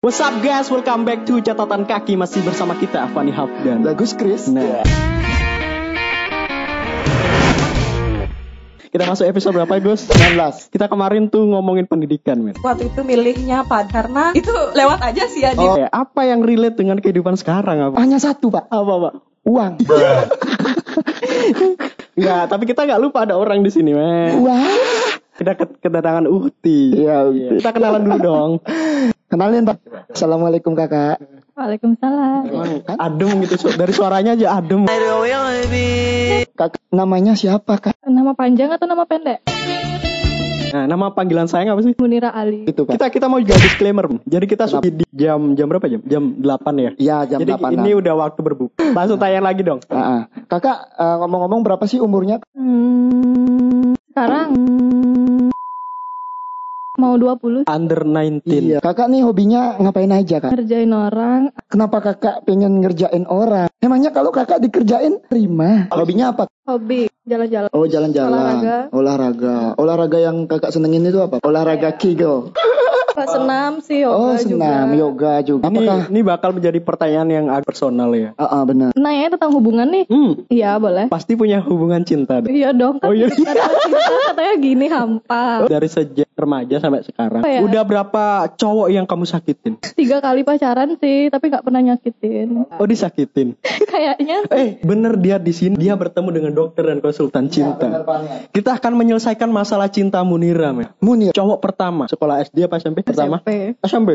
What's up guys, welcome back to catatan kaki masih bersama kita Fani Hafdan. Bagus Chris. Ya. Nah. Kita masuk episode berapa ya, Gus? 19. Kita kemarin tuh ngomongin pendidikan, men. waktu itu milihnya pad karena itu lewat aja sih ya di Oh. Kayak apa yang relate dengan kehidupan sekarang apa? Hanya satu pak, Apa, Pak? uang. Ya, tapi kita nggak lupa ada orang di sini, men. Wah. Kita ke- kedatangan Uhti. Iya. Iya, Kita kenalan dulu dong. Kenalin pak. Assalamualaikum kakak. Kan, Waalaikumsalam Adem gitu su- dari suaranya aja adem. Kakak namanya siapa kak? nama panjang atau nama pendek Nah, nama panggilan saya apa sih? Munira Ali Itu Gitu, pak. Kita kita mau juga disclaimer. men. Jadi kita sudah di jam jam berapa jam? Jam 8 ya. Iya jam Ah. Jadi 8 ini udah waktu berbuka. Langsung tanya lagi dong. Kakak eh, ngomong-ngomong berapa sih umurnya? Hmm, sekarang mau 20 Under 19. Iya. Kakak nih hobinya ngapain aja kak? ngerjain orang Kenapa kakak pengen ngerjain orang? Emangnya kalau kakak dikerjain terima? Hobinya apa? hobi jalan-jalan Oh jalan-jalan. Olahraga. Olahraga. Olahraga yang kakak senengin itu apa? Olahraga Kegel. senam sih Oh senam, yoga juga. Ini, Apakah? ini bakal menjadi pertanyaan yang agak personal ya. Ah ah, benar. nanya tentang hubungan nih Hmm, iya boleh pasti punya hubungan cinta deh. iya dong kan Oh iya. cinta katanya gini hampa Dari sejak remaja sampai sekarang. Iya. Apa ya? Udah berapa cowok yang kamu sakitin? tiga kali pacaran sih tapi nggak pernah nyakitin Oh, disakitin. kayaknya Eh, bener dia di sini. Dia bertemu dengan dokter dan konsultan cinta. Kita akan menyelesaikan masalah cinta Munira, men. Munir. Cowok pertama, sekolah SD apa SMP pertama? SMP SMP.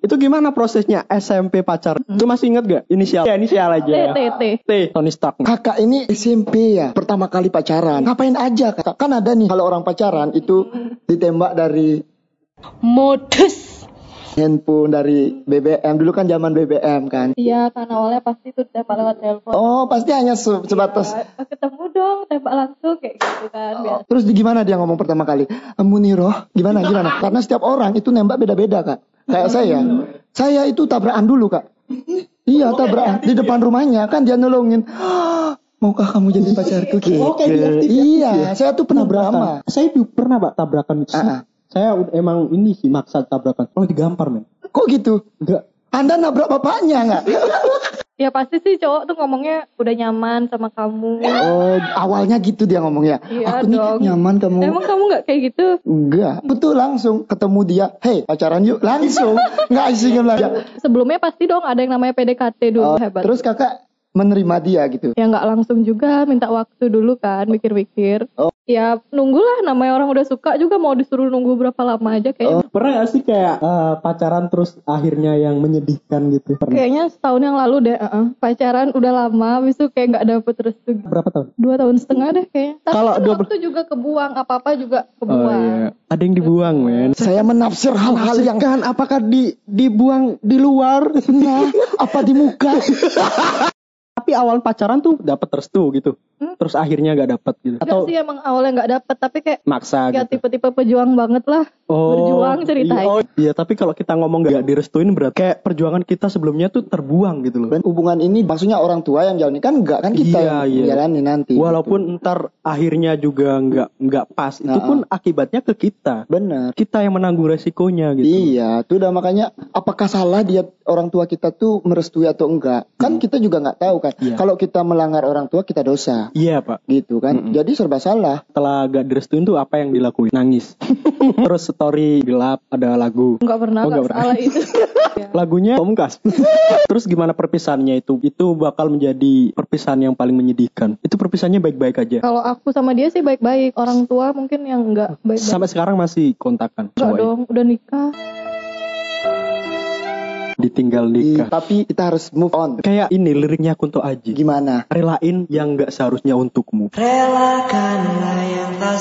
Itu gimana prosesnya SMP pacar? Hmm. Itu masih inget gak? Inisial. Ya, Iya, inisial aja ya. TTT T. Tony Stark. Kakak ini SMP ya, pertama kali pacaran. Ngapain aja kakak? Kan ada nih kalau orang pacaran itu ditembak dari modus handphone, dari BBM. Dulu kan zaman BBM kan. iya kan awalnya pasti tuh tembak lewat telepon Oh pasti hanya se- sebatas. Eh, ketemu dong tembak langsung kayak gitu kan biasa. Terus di gimana dia ngomong pertama kali? Muniro, gimana gimana? Karena setiap orang itu nembak beda-beda kak. Kayak saya, saya itu tabrakan dulu kak. Iya tabrakan di depan rumahnya kan dia nolongin. "Ah, Maukah kamu jadi pacarku gitu? Oh, kayak diaktif-aktif iya, saya tuh pernah berama. Saya juga pernah pak tabrakan itu. Ah, ah. Saya ud- emang ini sih maksa tabrakan. Kalau digampar men. Kok gitu? Enggak. Anda nabrak bapaknya nggak? ya pasti sih cowok tuh ngomongnya udah nyaman sama kamu Oh, awalnya gitu dia ngomongnya. Iya Aku dong. nih nyaman kamu. emang kamu nggak kayak gitu Enggak, betul langsung ketemu dia. Hei, pacaran yuk langsung. Nggak izinkan lagi. sebelumnya pasti dong ada yang namanya PDKT dulu Oh, hebat terus kakak menerima dia gitu. ya nggak langsung juga minta waktu dulu kan mikir-mikir Oh. ya nunggulah namanya orang udah suka juga mau disuruh nunggu berapa lama aja Oh. kayak Pernah gak sih kayak eh, pacaran terus akhirnya yang menyedihkan gitu? Pernah. Kayaknya setahun yang lalu deh, eh, pacaran udah lama, habis itu kayak nggak dapet restu. Berapa tahun? Dua tahun setengah deh kayaknya. Tapi Kalau kan dua waktu juga kebuang, apa-apa juga Oh, kebuang. Oh, iya. iya. Ada yang dibuang men. Saya menafsir hal-hal yang Kan apakah di dibuang di luar? nah, apa di muka. Tapi awal pacaran tuh dapat restu gitu. Hmm? Terus akhirnya gak dapat gitu. Nggak Atau sih emang awalnya nggak dapet, tapi kayak maksa ya gitu. tipe-tipe pejuang banget lah. Iya, berjuang ceritanya. oh, iya, tapi kalau kita ngomong gak direstuin berarti kayak perjuangan kita sebelumnya tuh terbuang gitu loh. Dan hubungan ini maksudnya orang tua yang jalani kan enggak kan kita Iya, yang iya. jalani nanti. gitu. Walaupun ntar akhirnya juga nggak nggak pas, itu Nah, pun akibatnya ke kita. benar. Kita yang menanggung resikonya gitu. Iya, itu udah makanya apakah salah dia orang tua kita tuh merestui atau enggak? Kan kita juga nggak tahu kan. Hmm. Iya. Kalau kita melanggar orang tua kita dosa, Iya pak. gitu kan. Jadi serba salah. Setelah gak direstuin tuh apa yang dilakuin? Nangis. Terus story gelap ada lagu. Nggak pernah, Oh, nggak nggak pernah. salah itu. Ya. Lagunya pemungkas. Terus gimana perpisahannya itu? Itu bakal menjadi perpisahan yang paling menyedihkan. Itu perpisahannya baik-baik aja. Kalau aku sama dia sih baik-baik, orang tua mungkin yang nggak baik-baik. Sampai sekarang masih kontakan. Nggak Coba dong, udah nikah. ditinggal Iya, nikah. tapi kita harus move on. Kayak ini liriknya Kunto Aji. Gimana? Relain yang gak seharusnya untukmu. Relakanlah yang tak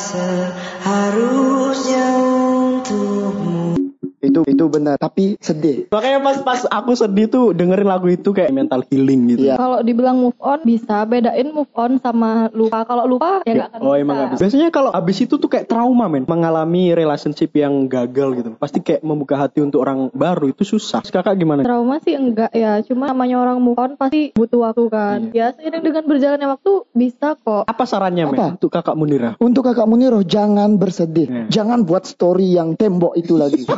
seharusnya untukmu Itu itu benar, tapi sedih. Makanya pas pas aku sedih tuh dengerin lagu itu kayak mental healing gitu. Iya. Kalau dibilang move on bisa, bedain move on sama lupa. Kalau lupa ya nggak akan Oh emang bisa. gak bisa. Biasanya kalau abis itu tuh kayak trauma men Mengalami relationship yang gagal gitu Pasti kayak membuka hati untuk orang baru itu susah Terus Kakak gimana? Trauma sih enggak ya, cuma namanya orang move on pasti butuh waktu kan. Iya. Ya seiring dengan berjalannya waktu bisa kok. Apa sarannya men? Apa? Untuk kakak Munira Untuk kakak Muniro jangan bersedih. Iya. Jangan buat story yang tembok itu lagi.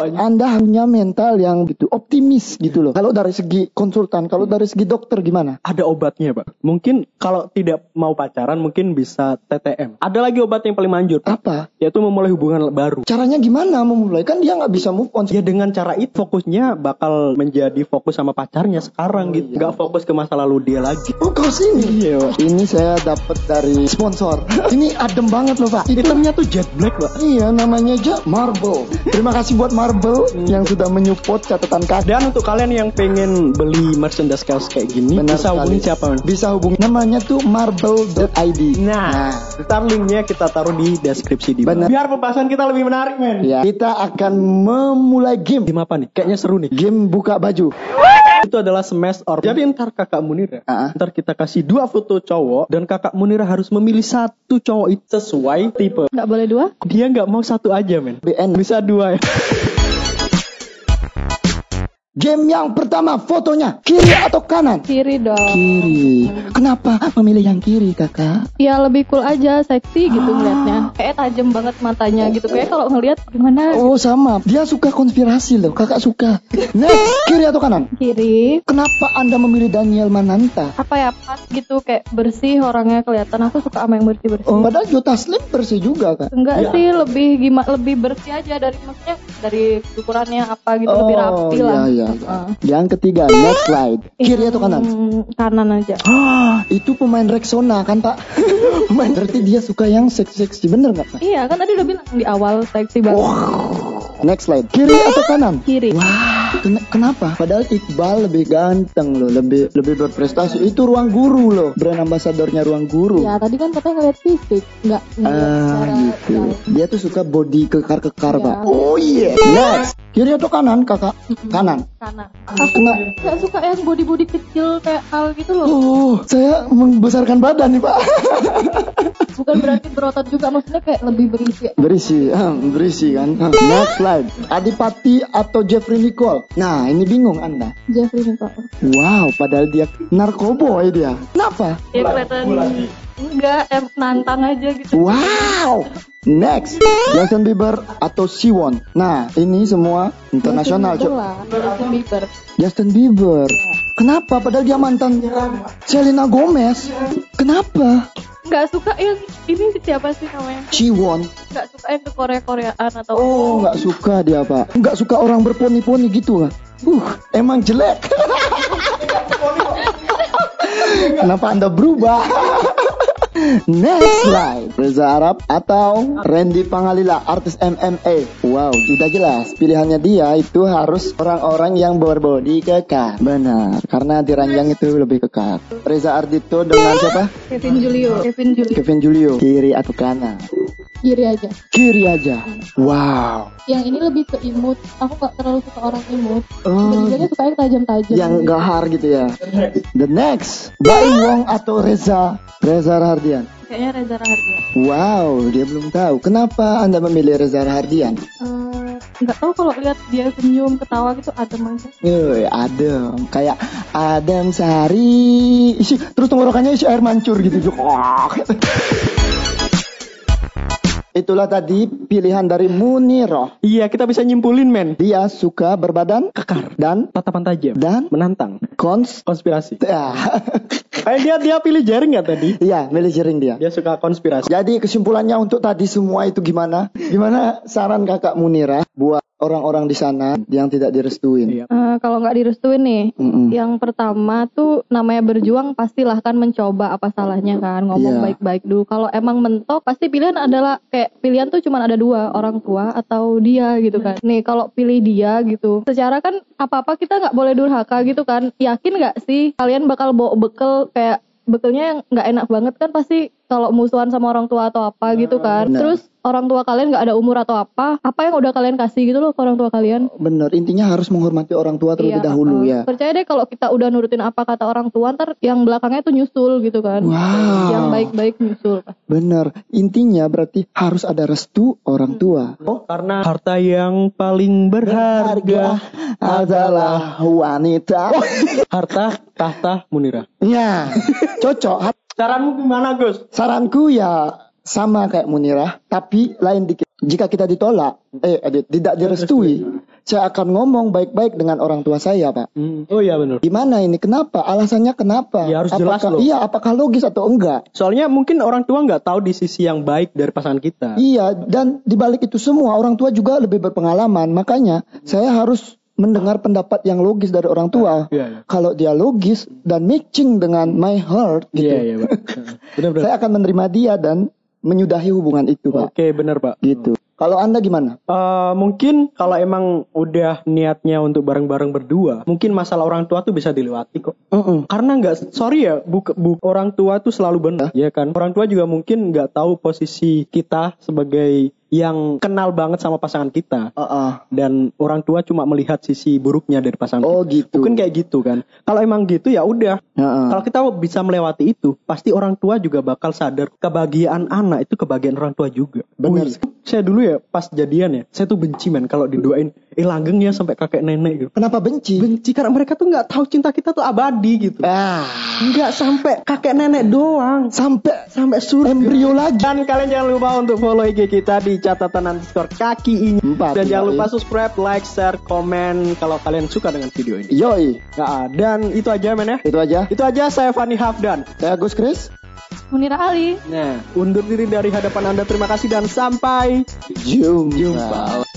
banyak. Anda punya mental yang gitu optimis gitu loh. Kalau dari segi konsultan, kalau dari segi dokter gimana? Ada obatnya, Pak. Mungkin kalau tidak mau pacaran mungkin bisa TTM. Ada lagi obat yang paling manjur, Pak, Apa? yaitu memulai hubungan baru. Caranya gimana memulai? Kan dia nggak bisa move on. Ya dengan cara itu fokusnya bakal menjadi fokus sama pacarnya sekarang iya. gitu. Gak fokus ke masa lalu dia lagi. Oh, kau sini. Iya, Pak. Ini saya dapat dari sponsor. Ini adem banget loh, Pak. Itu Filmnya tuh jet black, Pak. Iya namanya aja Marble. Terima kasih buat Marble Hmm. yang sudah menyupport catatan kaki. Dan untuk kalian yang pengen beli merchandise kaos kayak gini, Benar bisa sekali. Nah. hubungi siapa, Man? Bisa hubungi namanya tuh marble.id. Nah, ntar linknya kita taruh di deskripsi di bawah. Benar. Biar pembahasan kita lebih menarik, men. ya, kita akan memulai game. Tim apa nih? Kayaknya seru nih. Game buka baju. Itu adalah smash or. Jadi ntar kakak Munira, Ah. ntar kita kasih dua foto cowok dan kakak Munira harus memilih satu cowok itu sesuai tipe. Nggak boleh dua? Dia nggak mau satu aja, men. BN. Bisa dua ya. Game yang pertama fotonya kiri atau kanan? Kiri dong. Kiri. Kenapa memilih yang kiri, Kakak? Ya lebih cool aja, Ah. seksi gitu ngeliatnya. Kayak tajam banget matanya gitu. Kayak kalau ngeliat gimana? Oh, sama. Dia suka konspirasi loh. Kakak suka. Next, kiri atau kanan? Kiri. Kenapa Anda memilih Daniel Mananta? Apa ya pas gitu kayak bersih orangnya kelihatan. Aku suka sama yang bersih bersih. Oh, padahal Jota Slim bersih juga, Kak. Enggak sih, lebih gimana? Lebih bersih aja dari maksudnya dari ukurannya apa gitu lebih rapi iya, lah. Ah. iya, iya. Heeh. Yang ketiga, next slide. Kiri atau kanan? Hmm, kanan aja. Ah, itu pemain Rexona kan pak? pemain berarti dia suka yang seksi-seksi bener nggak pak? Iya kan tadi udah bilang di awal seksi banget. Oh, Next slide. Kiri atau kanan? Kiri. Ken- Kenapa? Padahal Iqbal lebih ganteng loh, lebih lebih berprestasi. Itu ruang guru loh, brand ambasadornya ruang guru. Ya tadi kan katanya ngeliat fisik, nggak ngeliat Ah, cara gitu. Dia tuh suka body kekar-kekar Ya. pak. Oh iya. Next. Kiri atau kanan kakak? Kanan. kanan. Kenapa? Gak suka yang body-body kecil kayak hal gitu loh. Oh, saya membesarkan badan nih pak. Bukan berarti berotot juga, maksudnya kayak lebih berisi. Berisi, ah, berisi kan. Ah, Next slide. Adipati atau Jeffrey Nicole. Nah, ini bingung Anda. Jeffrey nih kok. Wow, padahal dia narkoboy dia. Kenapa? Ya kelihatan enggak, em, nantang aja gitu. Wow. Next, Justin Bieber atau Siwon. Nah, ini semua internasional, Justin Bieber Cuk. lah, Justin Bieber. Justin Bieber. Kenapa? Padahal dia mantan Selena Gomez. Kenapa? Nggak suka yang ini siapa sih namanya? Siwon. Nggak suka yang ke Korea-Koreaan atau Oh, nggak suka dia pak. Nggak suka orang berponi-poni gitu kan? Uh, emang jelek. Kenapa anda berubah? Next slide Reza Arab atau Randy Pangalila Artis MMA Wow sudah jelas Pilihannya dia itu harus Orang-orang yang berbody kekar Benar Karena diranjang itu lebih kekar Reza Ardito dengan siapa? Kevin Julio. Kevin Julio Kevin Julio Kiri atau kanan? kiri aja. Kiri aja Wow Yang ini lebih ke imut. Aku nggak terlalu suka orang imut. Oh, Jadi suka yang tajam-tajam. yang gahar gitu ya. The next, Bayu Wong atau Reza Reza Rahardian. Kayaknya Reza Rahardian. Wow, dia belum tahu. Kenapa Anda memilih Reza Rahardian? Eh, nggak tahu kalau lihat dia senyum ketawa gitu adem aja. Eh, adem, kayak Adam Sari. Isi, terus tenggorokannya isi air mancur gitu. Itulah tadi pilihan dari Muniroh. Iya, kita bisa nyimpulin, men. Dia suka berbadan Kekar, dan tatapan tajam, dan menantang, kons. konspirasi. Ah, Eh, dia dia pilih jaring nggak tadi? Iya, milih jaring dia. Dia suka konspirasi. Jadi kesimpulannya untuk tadi semua itu gimana? Gimana saran kakak Munira buat orang-orang di sana yang tidak direstuin? Iya. Eh, kalau nggak direstuin nih, Mm-mm. yang pertama tuh namanya berjuang pastilah kan mencoba apa salahnya kan Iya. ngomong baik-baik dulu. Kalau emang mentok pasti pilihan adalah kayak pilihan tuh cuma ada dua orang tua atau dia gitu kan. Nih kalau pilih dia gitu, secara kan apa-apa kita nggak boleh durhaka gitu kan. Yakin nggak sih kalian bakal bawa bekel kayak bekelnya yang nggak enak banget kan pasti kalau musuhan sama orang tua atau apa gitu Nah, kan. benar. Terus orang tua kalian nggak ada umur atau apa, apa yang udah kalian kasih gitu loh ke orang tua kalian. Bener, intinya harus menghormati orang tua terlebih Iya, dahulu uh, ya. Percaya deh kalau kita udah nurutin apa kata orang tua ntar yang belakangnya tuh nyusul gitu kan. Wow. Yang baik-baik nyusul. Bener, intinya berarti harus ada restu orang tua. Oh, karena harta yang paling berharga, adalah wanita. harta tahta Munira. ya, cocok. Saranmu gimana, Gus? Saranku ya sama kayak Munira, tapi lain dikit. jika kita ditolak, eh eh, tidak direstui, saya akan ngomong baik-baik dengan orang tua saya, Pak. Hmm. Oh iya benar. Gimana ini? Kenapa? Alasannya kenapa? Ya, harus jelas apakah, loh. Iya, apakah logis atau enggak? Soalnya mungkin orang tua nggak tahu di sisi yang baik dari pasangan kita. Iya, dan dibalik itu semua orang tua juga lebih berpengalaman. Makanya saya harus mendengar pendapat yang logis dari orang tua. Iya, iya. Kalau dia logis dan matching dengan my heart, gitu, Iya iya pak. Benar-benar. saya akan menerima dia dan menyudahi hubungan itu, Pak. Oke benar pak. Iya. Gitu. Kalau anda gimana? Eh, mungkin kalau emang udah niatnya untuk bareng-bareng berdua, mungkin masalah orang tua tuh bisa dilewati kok. Karena nggak, sorry ya, bu, bu- orang tua tuh selalu benar, ya kan? Orang tua juga mungkin nggak tahu posisi kita sebagai yang kenal banget sama pasangan kita. Ah, Dan orang tua cuma melihat sisi buruknya dari pasangan Oh, kita. gitu. Mungkin kayak gitu kan. Kalau emang gitu ya udah. ah. Ah, ah. Kalau kita bisa melewati itu, pasti orang tua juga bakal sadar kebahagiaan anak itu kebahagiaan orang tua juga. Benar. Wih, Saya dulu ya pas jadian ya, saya tuh benci men kalau didoain eh langgeng ya sampai kakek nenek gitu. Kenapa benci? Benci karena mereka tuh nggak tahu cinta kita tuh abadi gitu. Ah, Nggak sampai kakek nenek doang, sampai sampai surga. embrio lagi. Dan kalian jangan lupa untuk follow IG kita di catatan underscore kaki ini. Empat, Dan jangan iya, lupa iya. subscribe, like, share, komen kalau kalian suka dengan video ini. Yoi, Nah, dan itu aja men ya. itu aja. Itu aja saya Fani Hafdan. Saya Gus Kris. Munira Ali Nah, undur diri dari hadapan Anda. Terima kasih dan sampai Jumpa. jumpa.